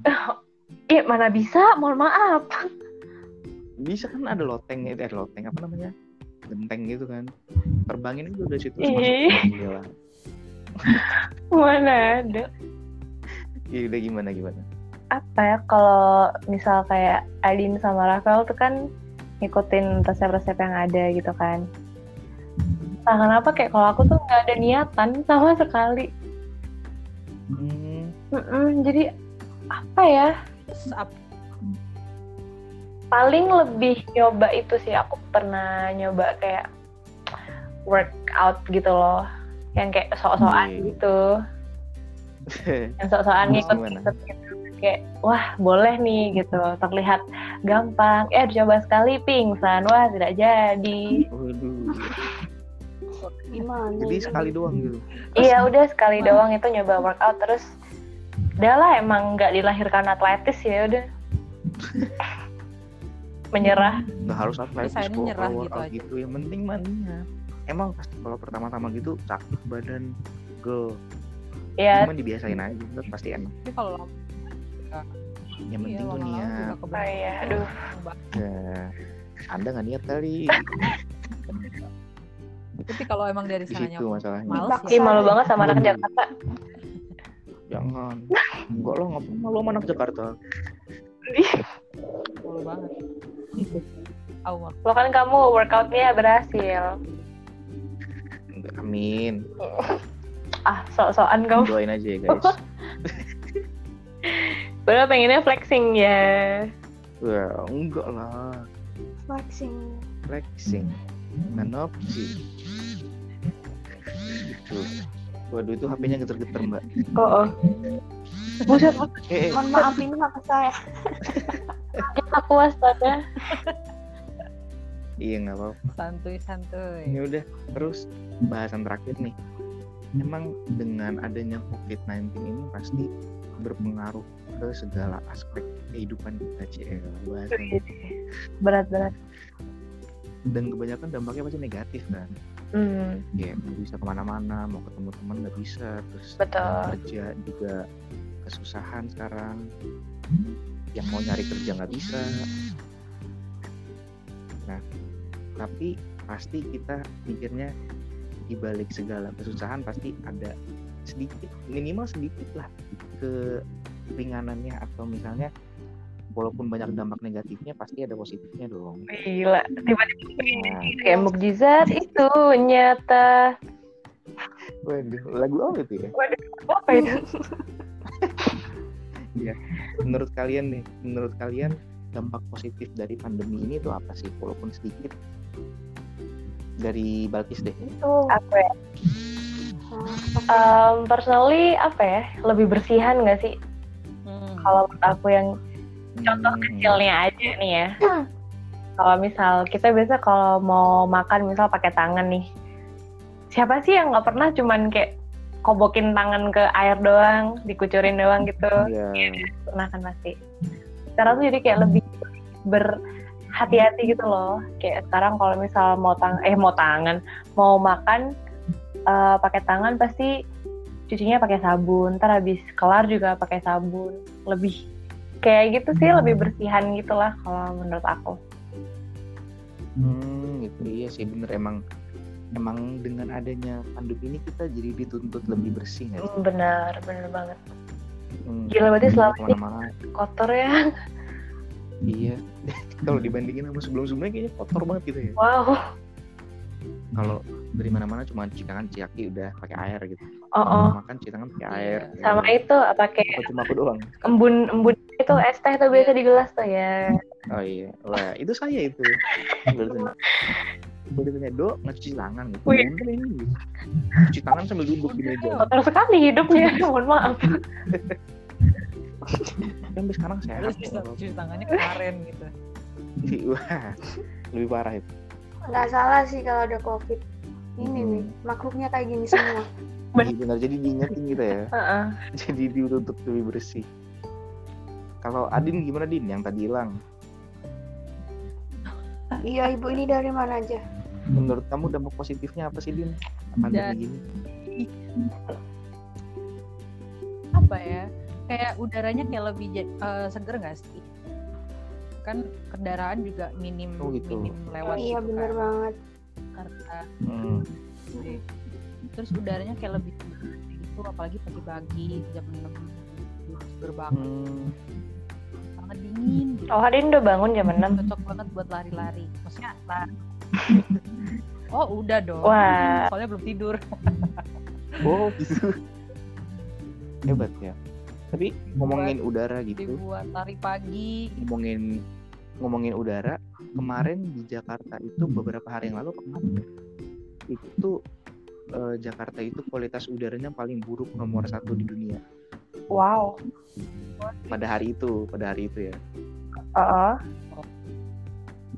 D: Iya mana bisa, mohon maaf.
A: Bisa kan ada loteng itu, ada loteng apa namanya? Genteng gitu kan. Terbangin itu dari situ
D: Ih.
A: masuk ke jendela.
D: Mana ada.
A: Iya udah gimana gimana?
D: Apa ya kalau misal kayak Adin sama Rafael tuh kan ngikutin resep-resep yang ada gitu kan. Entah kenapa kayak kalau aku tuh nggak ada niatan sama sekali.
A: Hmm.
D: Mm-mm, jadi apa ya?
C: Terus ap-
D: Paling lebih nyoba itu sih aku pernah nyoba kayak workout gitu loh, yang kayak sok-sokan
A: Iya.
D: gitu. yang sok-sokan
A: Terus
D: ngikut
A: gimana?
D: ngikut gitu. kayak wah boleh nih gitu terlihat gampang eh coba sekali pingsan wah tidak jadi
A: Waduh.
B: Gimana?
A: Jadi
B: ini?
A: sekali doang gitu.
D: iya udah sekali doang itu nyoba workout terus udah lah emang nggak dilahirkan atletis ya udah menyerah
A: nggak harus atletis
C: akhirnya
A: kok
C: nyerah
A: kalau
C: gitu
A: workout
C: aja.
A: gitu yang penting maninya emang pasti kalau pertama-tama gitu sakit badan girl
D: ya
A: cuman dibiasain aja kan pasti enak
C: tapi kalau lama Iya,
A: yang penting tuh niat
D: oh iya aduh
A: Ya, anda nggak niat kali
C: Tapi kalau emang dari
A: Di
C: sananya
A: situ masalahnya.
C: males
D: Ih,
B: Iya,
C: ya.
D: malu banget sama anak
A: Hmm.
D: Jakarta.
A: Jangan. Enggak lo ngapain malu sama anak Jakarta.
C: Malu banget. Allah.
D: Lo kan kamu workoutnya berhasil.
A: Enggak, amin.
D: Ah, sok-sokan kamu.
A: Doain aja ya guys.
D: Padahal pengennya flexing ya.
A: Wah, Ya, enggak lah.
B: flexing
A: Flexing. Nanopsi. Gitu. Waduh itu HP-nya geter-geter mbak.
D: Oh, oh.
B: Buset,
A: Eh, eh,
B: mohon maaf ini apa saya
D: Aku astaga.
A: iya nggak apa-apa.
C: Santuy-santuy.
A: Ini Ya udah terus bahasan terakhir nih. Emang dengan adanya COVID-19 ini pasti berpengaruh ke segala aspek kehidupan kita CL bahasanya.
D: Berat-berat.
A: dan kebanyakan dampaknya pasti negatif kan
D: Hmm,
A: ya nggak bisa kemana-mana mau ketemu teman nggak bisa terus
D: betul.
A: kerja juga kesusahan sekarang yang mau nyari kerja nggak bisa nah tapi pasti kita mikirnya di balik segala kesusahan pasti ada sedikit minimal sedikit lah keringanannya atau misalnya walaupun banyak dampak negatifnya pasti ada positifnya dong
D: Gila. Tiba-tiba gitu ya?
A: nah,
B: Iya.
D: Iya, kayak mukjizat itu nyata.
A: waduh lagu apa itu ya
D: Apa itu?
A: menurut kalian nih menurut kalian dampak positif dari pandemi ini itu apa sih walaupun sedikit dari Balkis deh
B: itu
D: Apa ya? Um, personally apa ya? Lebih bersihan gak sih?
C: Hmm.
D: Kalau menurut aku yang contoh
A: Hmm,
D: kecilnya aja nih ya. Kalau misal kita biasa kalau mau makan misal pakai tangan nih. Siapa sih yang nggak pernah cuman kayak kobokin tangan ke air doang, dikucurin doang gitu.
A: iya
D: Pernah kan pasti. Sekarang tuh jadi kayak lebih berhati-hati gitu loh. Kayak sekarang kalau misal mau tang eh mau tangan, mau makan eh, pakai tangan pasti cucinya pakai sabun. Ntar habis kelar juga pakai sabun. Lebih kayak gitu sih lebih bersihan gitu lah kalau menurut aku.
A: Hmm, gitu iya sih bener emang emang dengan adanya pandemi ini kita jadi dituntut lebih bersih nggak sih?
D: Hmm, Benar, benar banget.
A: Hmm,
D: Gila, berarti selama ini-
A: kemana-mana.
D: Kotor ya.
A: iya kalau dibandingin sama sebelum sebelumnya kayaknya kotor banget gitu ya
D: Wow.
A: kalau dari mana-mana cuma cuci tangan cuci kaki udah pakai air gitu
D: Oh, oh.
A: makan cuci tangan pakai air
D: Sama itu apa kayak
A: Apa cuma aku doang
D: embun embun itu es teh tuh biasa di gelas tuh ya.
A: Oh iya, wah itu saya itu. Baru tanya, baru tanya do nggak cuci tangan gitu.
D: Wih.
A: Bener ini gitu. Cuci tangan sambil duduk di meja.
D: Kotor sekali hidupnya. Mohon maaf.
A: Kan sampai sekarang saya
C: Terus cuci cuci tangannya kemarin gitu.
A: Wah, lebih parah itu.
B: nggak salah sih kalau ada covid ini
A: Hmm.
B: nih makhluknya kayak gini semua
D: Bener.
A: Iya, benar. Jadi diingetin kita ya.
D: Heeh.
A: Jadi ditutup lebih bersih. Kalau Adin gimana Din yang tadi hilang?
B: iya ibu ini dari mana aja
A: Menurut kamu dampak positifnya apa sih Din? Pandemi
C: Dan-
A: gini.
C: apa ya kayak udaranya kayak lebih ja- eh, seger nggak sih kan kendaraan juga minim
A: Oh, gitu.
C: minim lewat
B: iya
C: gitu
B: bener
C: kan.
B: banget
C: Karena-
A: Hmm.
C: sih. terus udaranya kayak lebih seger gitu apalagi pagi-pagi jam 6 seger banget
A: Hmm.
C: sangat dingin gitu.
D: Oh, Adin udah bangun jam 6.
C: cocok banget buat lari-lari maksudnya lari oh udah dong
D: Wah.
C: soalnya belum tidur
A: Oh gitu. Hebat ya. Tapi ngomongin udara gitu.
C: dibuat lari pagi
A: ngomongin ngomongin udara kemarin di Jakarta itu beberapa hari yang lalu kemarin itu eh, Jakarta itu kualitas udaranya paling buruk nomor satu di dunia
D: Wow.
A: pada hari itu pada hari itu ya
D: Heeh.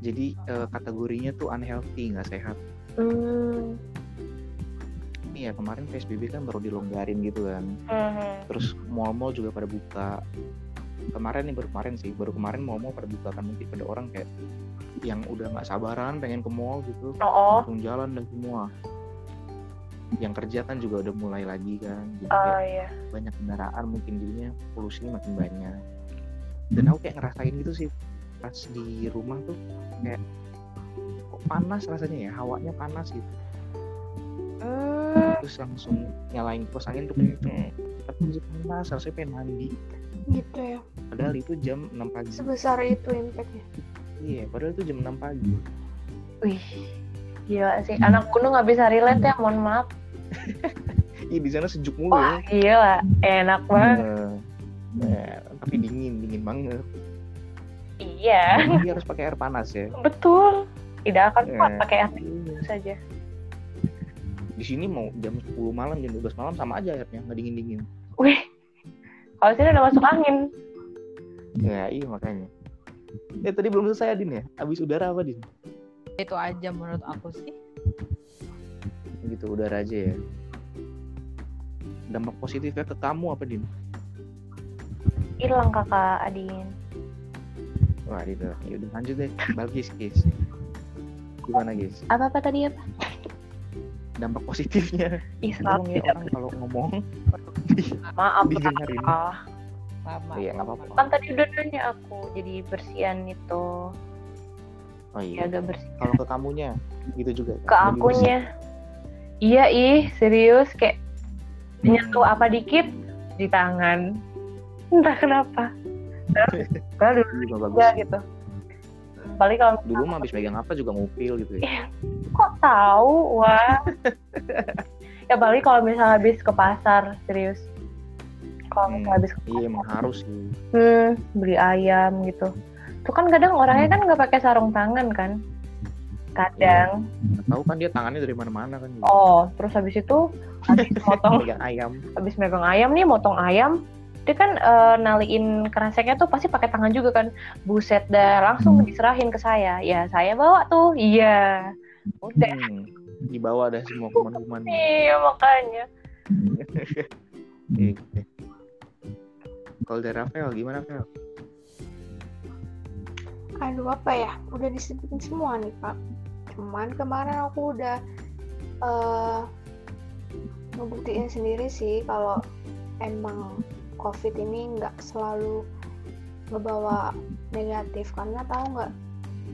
A: jadi eh, kategorinya tuh unhealthy nggak sehat
D: Hmm.
A: ini ya kemarin PSBB kan baru dilonggarin gitu kan
D: Mhm.
A: terus mall-mall juga pada buka kemarin nih baru kemarin sih baru kemarin mall-mall pada buka kan mungkin pada orang kayak yang udah nggak sabaran pengen ke mall gitu
D: Oh, oh.
A: langsung jalan dan semua yang kerja kan juga udah mulai lagi kan jadi
D: Oh,
A: kayak
D: iya.
A: banyak kendaraan mungkin jadinya polusinya makin banyak dan aku kayak ngerasain gitu sih pas di rumah tuh kayak kok panas rasanya ya hawanya panas gitu
D: Hmm,
A: terus langsung nyalain kipas angin tuh kayak tapi masih panas harusnya pengen mandi
B: gitu ya
A: padahal itu jam 6 pagi
B: sebesar itu impactnya
A: iya padahal itu jam 6 pagi
D: wih. Gila sih, anak gunung nggak bisa relate ya, mohon maaf.
A: iya di sana sejuk mulu
D: Wah, gila, enak banget.
A: Eh, eh, tapi dingin dingin banget
D: Iya,
A: jadi harus pakai air panas ya
D: betul. Tidak akan kuat
A: Eh,
D: pakai air
A: iya.
D: saja.
A: di sini mau jam 10 malam jam 12 malam sama aja airnya nggak dingin dingin
D: Wih, kalau sini udah masuk angin.
A: ya iya makanya eh tadi belum selesai Adin ya abis udara apa Din
C: itu aja menurut aku sih
A: gitu udara aja ya dampak positifnya ke kamu apa Din
D: Hilang kakak Adin.
A: wah Din ya udah lanjut deh balik guys guys gimana guys
D: Apa-apa tadi ya, apa?
A: dampak positifnya
D: Ih,
A: tolong ya
D: selalu tidak.
A: orang kalau ngomong
D: Maaf,
A: didengerin
D: kakak.
C: lama
A: Iya, nggak apa-apa.
D: Kan tadi udah nanya aku, jadi bersihan itu.
A: oh iya
D: Ya, agak bersih.
A: kalau ke kamunya gitu juga
D: Ke
A: Lebih bersih.
D: akunya. Iya, ih, serius. Kayak nyentuh
A: Hmm.
D: apa dikit, di tangan. Entah kenapa. Terus, padahal dulu
A: Iya, bagus
D: juga gitu. Paling kalau
A: dulu mah habis megang apa juga ngupil gitu
D: Iya.
A: ya
D: kok tahu wah ya balik kalau misalnya habis ke pasar serius kalau
A: Hmm,
D: misalnya habis ke
A: iya emang harus sih
D: hmm, beli ayam gitu tuh kan kadang orangnya kan nggak pakai sarung tangan kan kadang
A: Nggak tahu kan dia tangannya dari mana-mana kan gitu.
D: oh terus habis itu habis motong
A: megang ayam
D: habis megang ayam nih motong ayam dia kan eh, naliin keraseknya tuh pasti pakai tangan juga kan buset dah langsung diserahin ke saya ya saya bawa tuh iya udah
A: hmm. dibawa dah semua kuman-kuman
D: iya makanya
A: Iya, gitu. kalau dari Rafael gimana Rafael
B: aduh apa ya udah disebutin semua nih pak cuman kemarin aku udah eh ngebuktiin sendiri sih kalau emang covid ini nggak selalu ngebawa negatif karena tahu nggak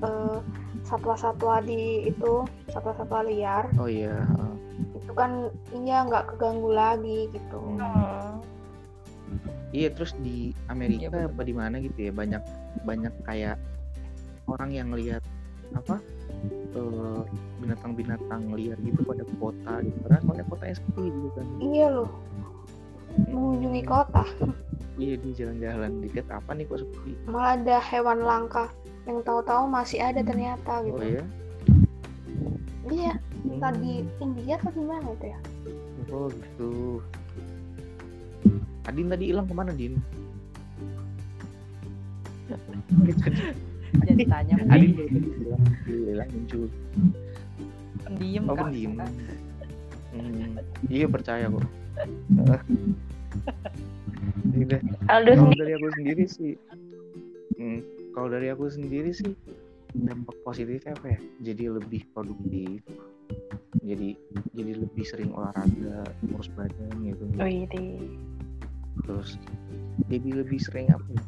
B: eh, satwa-satwa di itu satwa-satwa liar
A: oh iya
B: itu kan iya nggak keganggu lagi gitu
D: Hmm.
A: Iya terus di Amerika
C: Iya, betul.
A: apa di mana gitu ya banyak banyak kayak orang yang lihat apa eh, binatang-binatang liar gitu pada kota gitu karena soalnya kotanya sepi gitu kan
B: iya loh mengunjungi kota
A: iya di jalan-jalan dikit apa nih kok sepi
B: malah ada hewan langka yang tahu-tahu masih ada ternyata
A: oh
B: gitu
A: ya
B: iya
A: Hmm.
B: tadi India atau gimana itu ya
A: oh gitu Adin tadi hilang kemana Din
C: jadi tanya
A: Adin dari tadi hilang hilang muncul
C: pendiam
A: oh
C: kan
A: pendiam Hmm, iya percaya kok Iya.
D: Aldo
A: kalau
D: sendiri
A: dari aku sendiri sih hmm, kalau dari aku sendiri sih dampak positifnya apa ya jadi lebih produktif jadi jadi lebih sering olahraga ngurus badan gitu
D: Wih, di-
A: terus jadi lebih sering apa ya?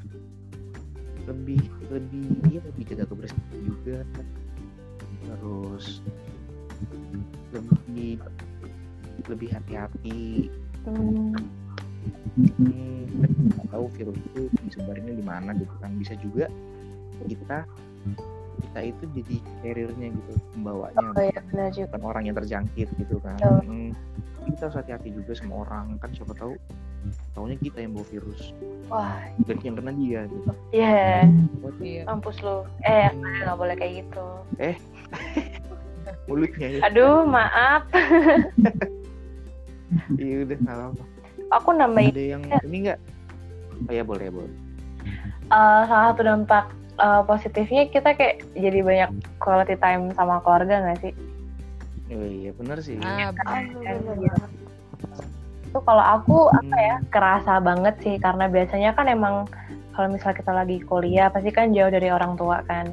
A: lebih lebih ya lebih jaga kebersihan juga terus lebih lebih hati-hati
D: Hmm,
A: Hmm, kan kita nggak tahu virus itu disebarinnya di mana gitu kan bisa juga kita kita itu jadi carrier-nya gitu pembawanya
D: oh ya benar juga
A: bukan kan orang yang terjangkit gitu kan
D: Betul.
A: Hmm, kita harus hati-hati juga sama orang kan siapa tahu taunya kita yang bawa virus
D: wah
A: dan yang kena dia gitu
D: ya
C: Iya.
D: mampus lu eh
A: Hmm,
D: nggak boleh kayak gitu
A: mulutnya ya
D: aduh maaf
A: iya udah nggak apa-apa
D: aku nambahin
A: ada yang ini nggak oh ya boleh boleh
D: eh, salah satu dampak eh, positifnya kita kayak jadi banyak quality time sama keluarga nggak sih
A: oh, iya benar sih
C: ah
B: Aduh,
D: Iya.
B: bener banget.
D: itu kalau aku
A: apa ya
D: Hmm. kerasa banget sih karena biasanya kan emang kalau misalnya kita lagi kuliah pasti kan jauh dari orang tua kan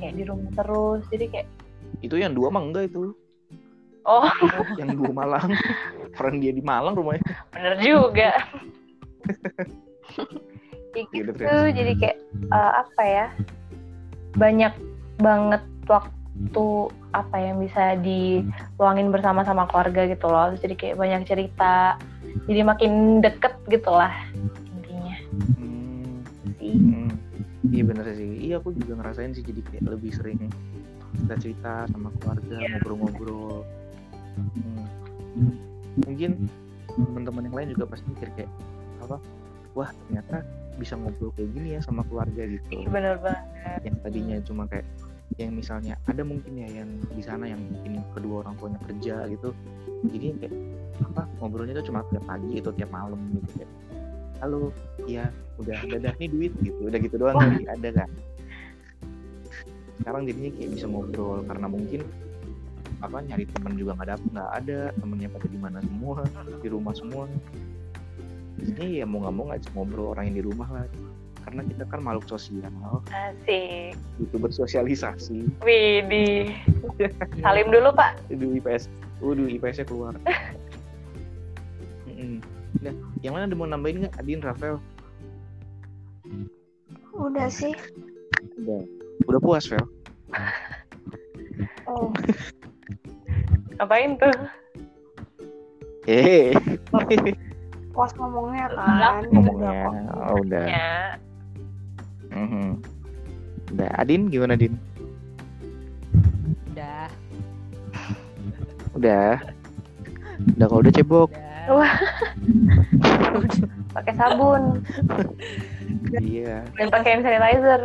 D: kayak di rumah terus jadi kayak
A: Mm. itu yang dua mah enggak itu
D: Oh.
A: yang dua Malang friend dia di Malang rumahnya
D: Bener juga. ya
A: Iya,
D: gitu,
A: betul.
D: jadi kayak eh, apa ya? Banyak banget waktu waktu apa yang bisa diluangin bersama-sama keluarga gitu loh Terus jadi kayak banyak cerita jadi makin deket gitu lah intinya
A: Hmm,
D: sih
A: hmm. Iya bener sih. Iya aku juga ngerasain sih jadi kayak lebih sering Hmm. cerita-cerita sama keluarga,
D: Iya.
A: ngobrol-ngobrol. Hmm. Mungkin teman-teman yang lain juga pasti mikir kayak apa? Wah ternyata bisa ngobrol kayak gini ya sama keluarga gitu.
D: bener banget
A: Yang tadinya cuma kayak yang misalnya ada mungkin ya yang di sana yang mungkin kedua orang tuanya kerja gitu. Jadi kayak apa ngobrolnya tuh cuma tiap pagi atau tiap malam gitu kayak. Halo, iya udah dadah nih duit gitu udah gitu doang nanti ada kan sekarang jadinya kayak bisa ngobrol karena mungkin apa nyari teman juga nggak ada nggak ada temennya pada di mana semua di rumah semua ini ya mau nggak mau ngajak ngobrol orang yang di rumah lah karena kita kan makhluk sosial
D: asik
A: butuh bersosialisasi
D: Widih salim dulu pak
A: di IPS waduh IPS nya keluar Mm-mm. Nah, yang mana ada mau nambahin nggak Adin Rafael
B: Udah sih.
A: udah udah puas Fel
B: Oh,
D: ngapain tuh
A: hehehe
B: puas ngomongnya kan.
A: ngomongnya
B: Udah kok.
A: oh, udah
D: ya
A: Mhm. Udah, Adin gimana Din?
C: Udah,
A: Udah. Udah kalau udah cebok.
C: udah.
D: Wah. pakai sabun
A: Iya.
D: dan pakai hand sanitizer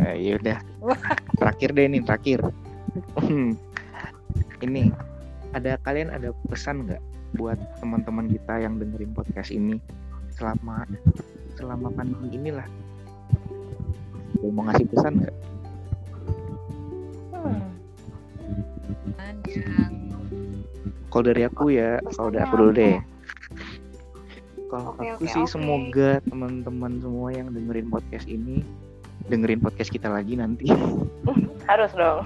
A: Eh, iya udah. Terakhir deh nih, terakhir. Hmm. ini ada kalian ada pesan nggak buat teman-teman kita yang dengerin podcast ini selama selama pandemi inilah Ada mau ngasih pesan nggak?
D: hmm.
C: Kan yang
A: Kalau dari aku ya, kalau dari aku dulu deh. Kalau
B: Oke,
A: aku
B: oke,
A: sih
B: oke.
A: semoga teman-teman semua yang dengerin podcast ini dengerin podcast kita lagi nanti.
D: harus dong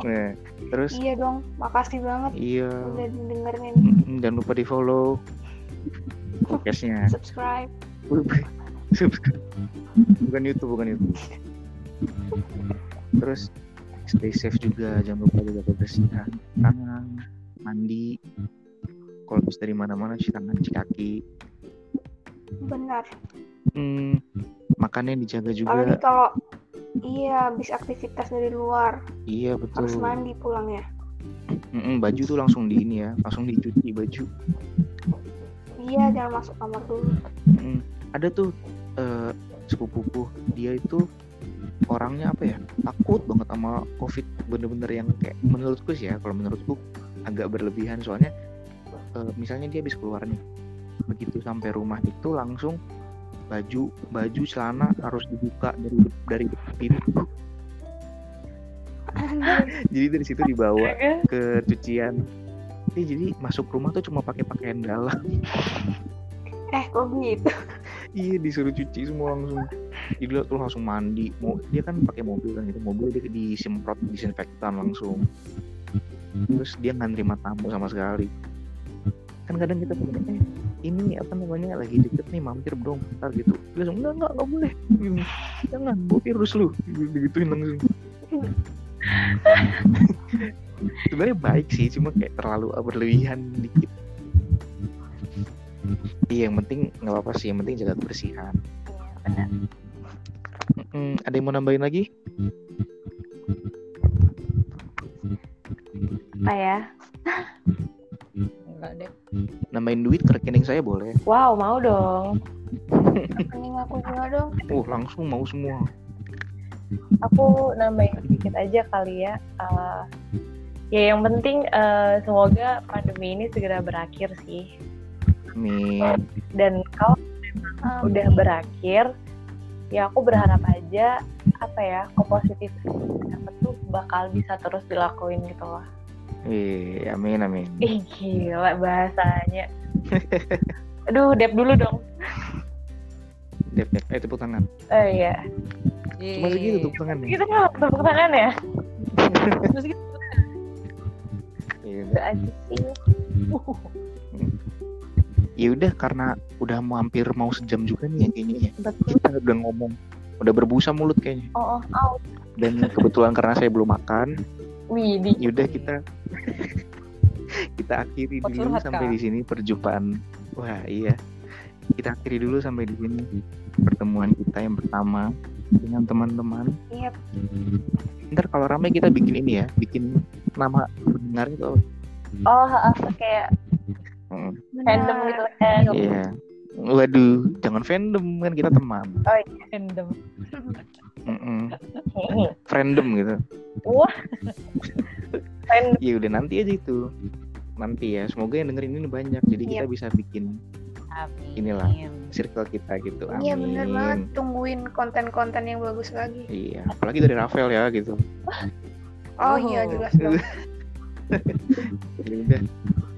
A: Nah, terus
B: Iya dong, makasih banget
A: iya
B: udah dengerin
A: mm, jangan lupa di follow podcastnya.
B: subscribe.
A: Subscribe. bukan YouTube, bukan YouTube. Terus stay safe juga, jangan lupa jaga kebersihan tangan, mandi. Kalau habis dari mana-mana cuci tangan, cuci kaki.
B: Benar.
A: Hmm, makannya dijaga juga.
B: Apalagi kalau iya habis aktivitas dari luar
A: Iya betul.
B: harus mandi pulangnya.
A: Mm-mm, baju tuh langsung di ini ya, langsung dicuci baju.
B: Iya, jangan masuk kamar dulu.
A: Mm-mm. Hmm. Ada tuh eh, sepupuku, dia itu orangnya apa ya? Takut banget sama covid, bener-bener yang kayak menurutku sih ya, kalau menurutku agak berlebihan soalnya. eh, misalnya dia habis keluar nih, begitu sampai rumah itu langsung baju baju celana harus dibuka dari dari pintu jadi dari situ
D: Iya
A: dibawa
D: kan?
A: ke cucian Iya, jadi masuk rumah tuh cuma pakai pakaian dalam
B: eh, kok gitu?
A: iya disuruh cuci semua langsung jadi tuh langsung mandi mau dia kan pakai mobil kan gitu mobil dia disemprot disinfektan langsung terus dia nggak nerima tamu sama sekali kan kadang kita punya eh ini apa namanya lagi deket nih mampir dong bentar gitu dia langsung enggak enggak enggak boleh Gitu. jangan bawa virus lu digituin langsung sebenarnya baik sih cuma kayak terlalu berlebihan dikit iya yang penting nggak apa-apa sih yang penting jaga kebersihan
D: Iya, benar.
A: Mm, ada yang mau nambahin lagi
D: apa ya
C: enggak deh.
A: nambahin duit ke rekening saya boleh
D: wow mau dong
B: Mending aku juga dong.
A: uh langsung mau semua
D: aku nambahin sedikit aja kali ya. Eh, ya yang penting eh, semoga pandemi ini segera berakhir sih.
A: amin
D: Dan kalau udah berakhir, ya aku berharap aja apa ya kepositif apa tuh bakal bisa terus dilakuin gitu loh.
A: eh amin amin
D: Ih gila bahasanya. Aduh, dep dulu dong.
A: dep dep eh tepuk tangan
D: Oh iya.
A: cuma segitu tepuk tangan nih
D: Kita nggak tepuk tangan ya?
C: Cuma segitu.
A: Iya,
D: Itu aja sih.
A: ya udah karena udah mau hampir mau sejam juga nih ya kayaknya ya.
D: Betul.
A: kita udah ngomong udah berbusa mulut kayaknya
D: Oh, oh, oh.
A: Dan kebetulan karena saya belum makan,
D: Widih.
A: yaudah Ya kita kita akhiri
C: Kok
A: dulu
C: curhat,
A: sampai
C: Kak?
A: di sini perjumpaan. Wah, iya. Kita akhiri dulu sampai di sini pertemuan kita yang pertama dengan teman-teman.
B: Iya,
A: Ntar kalau ramai kita bikin ini ya, bikin nama pendengar itu. apa?
D: Oh, ha, ha, kayak
A: Mm,
D: fandom gitu kan.
A: Iya. Waduh, jangan fandom kan kita teman.
C: Random.
A: Mm-mm.
D: Hehe.
A: Friendom gitu.
D: Wah. Fandom.
A: Ya udah nanti aja itu. Nanti ya, semoga yang dengerin ini banyak. Jadi kita bisa bikin
C: Amin.
A: Inilah. circle kita gitu. Amin.
B: iya bener banget. Tungguin konten-konten yang bagus lagi.
A: Iya, apalagi dari Rafael ya gitu.
C: Oh.
B: Oh iya jelas dong.
A: Ya udah.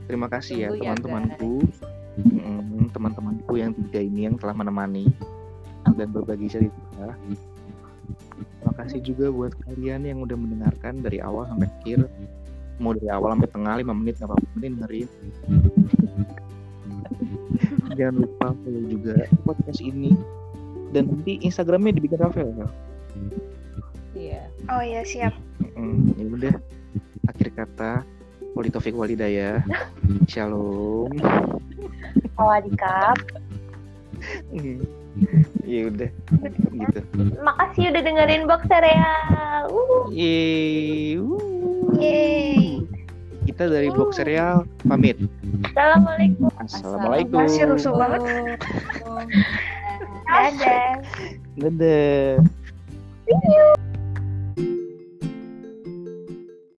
A: Terima kasih ya
C: Tunggu ya,
A: teman-temanku. Mm, teman-temanku yang tiga ini yang telah menemani dan berbagi cerita. Terima kasih juga buat kalian yang udah mendengarkan dari awal sampai akhir. Mau dari awal sampai tengah 5 menit nggak apa-apa penting dengerin. Jangan lupa follow juga podcast ini dan nanti Instagramnya dibikin Rafael ya.
C: Iya.
B: Oh iya siap.
A: Mm, ya udah. Akhir kata Wali Taufik Walidaya. Shalom.
D: Oh, Sawadikap.
A: ya udah gitu.
D: Makasih udah dengerin box serial. Uh.
A: Yeay. Wuh.
B: Yeay.
A: Kita dari Box Serial pamit.
D: Assalamualaikum.
A: Assalamualaikum.
B: Masih rusuh banget.
C: Oh.
B: Dadah.
A: Dadah.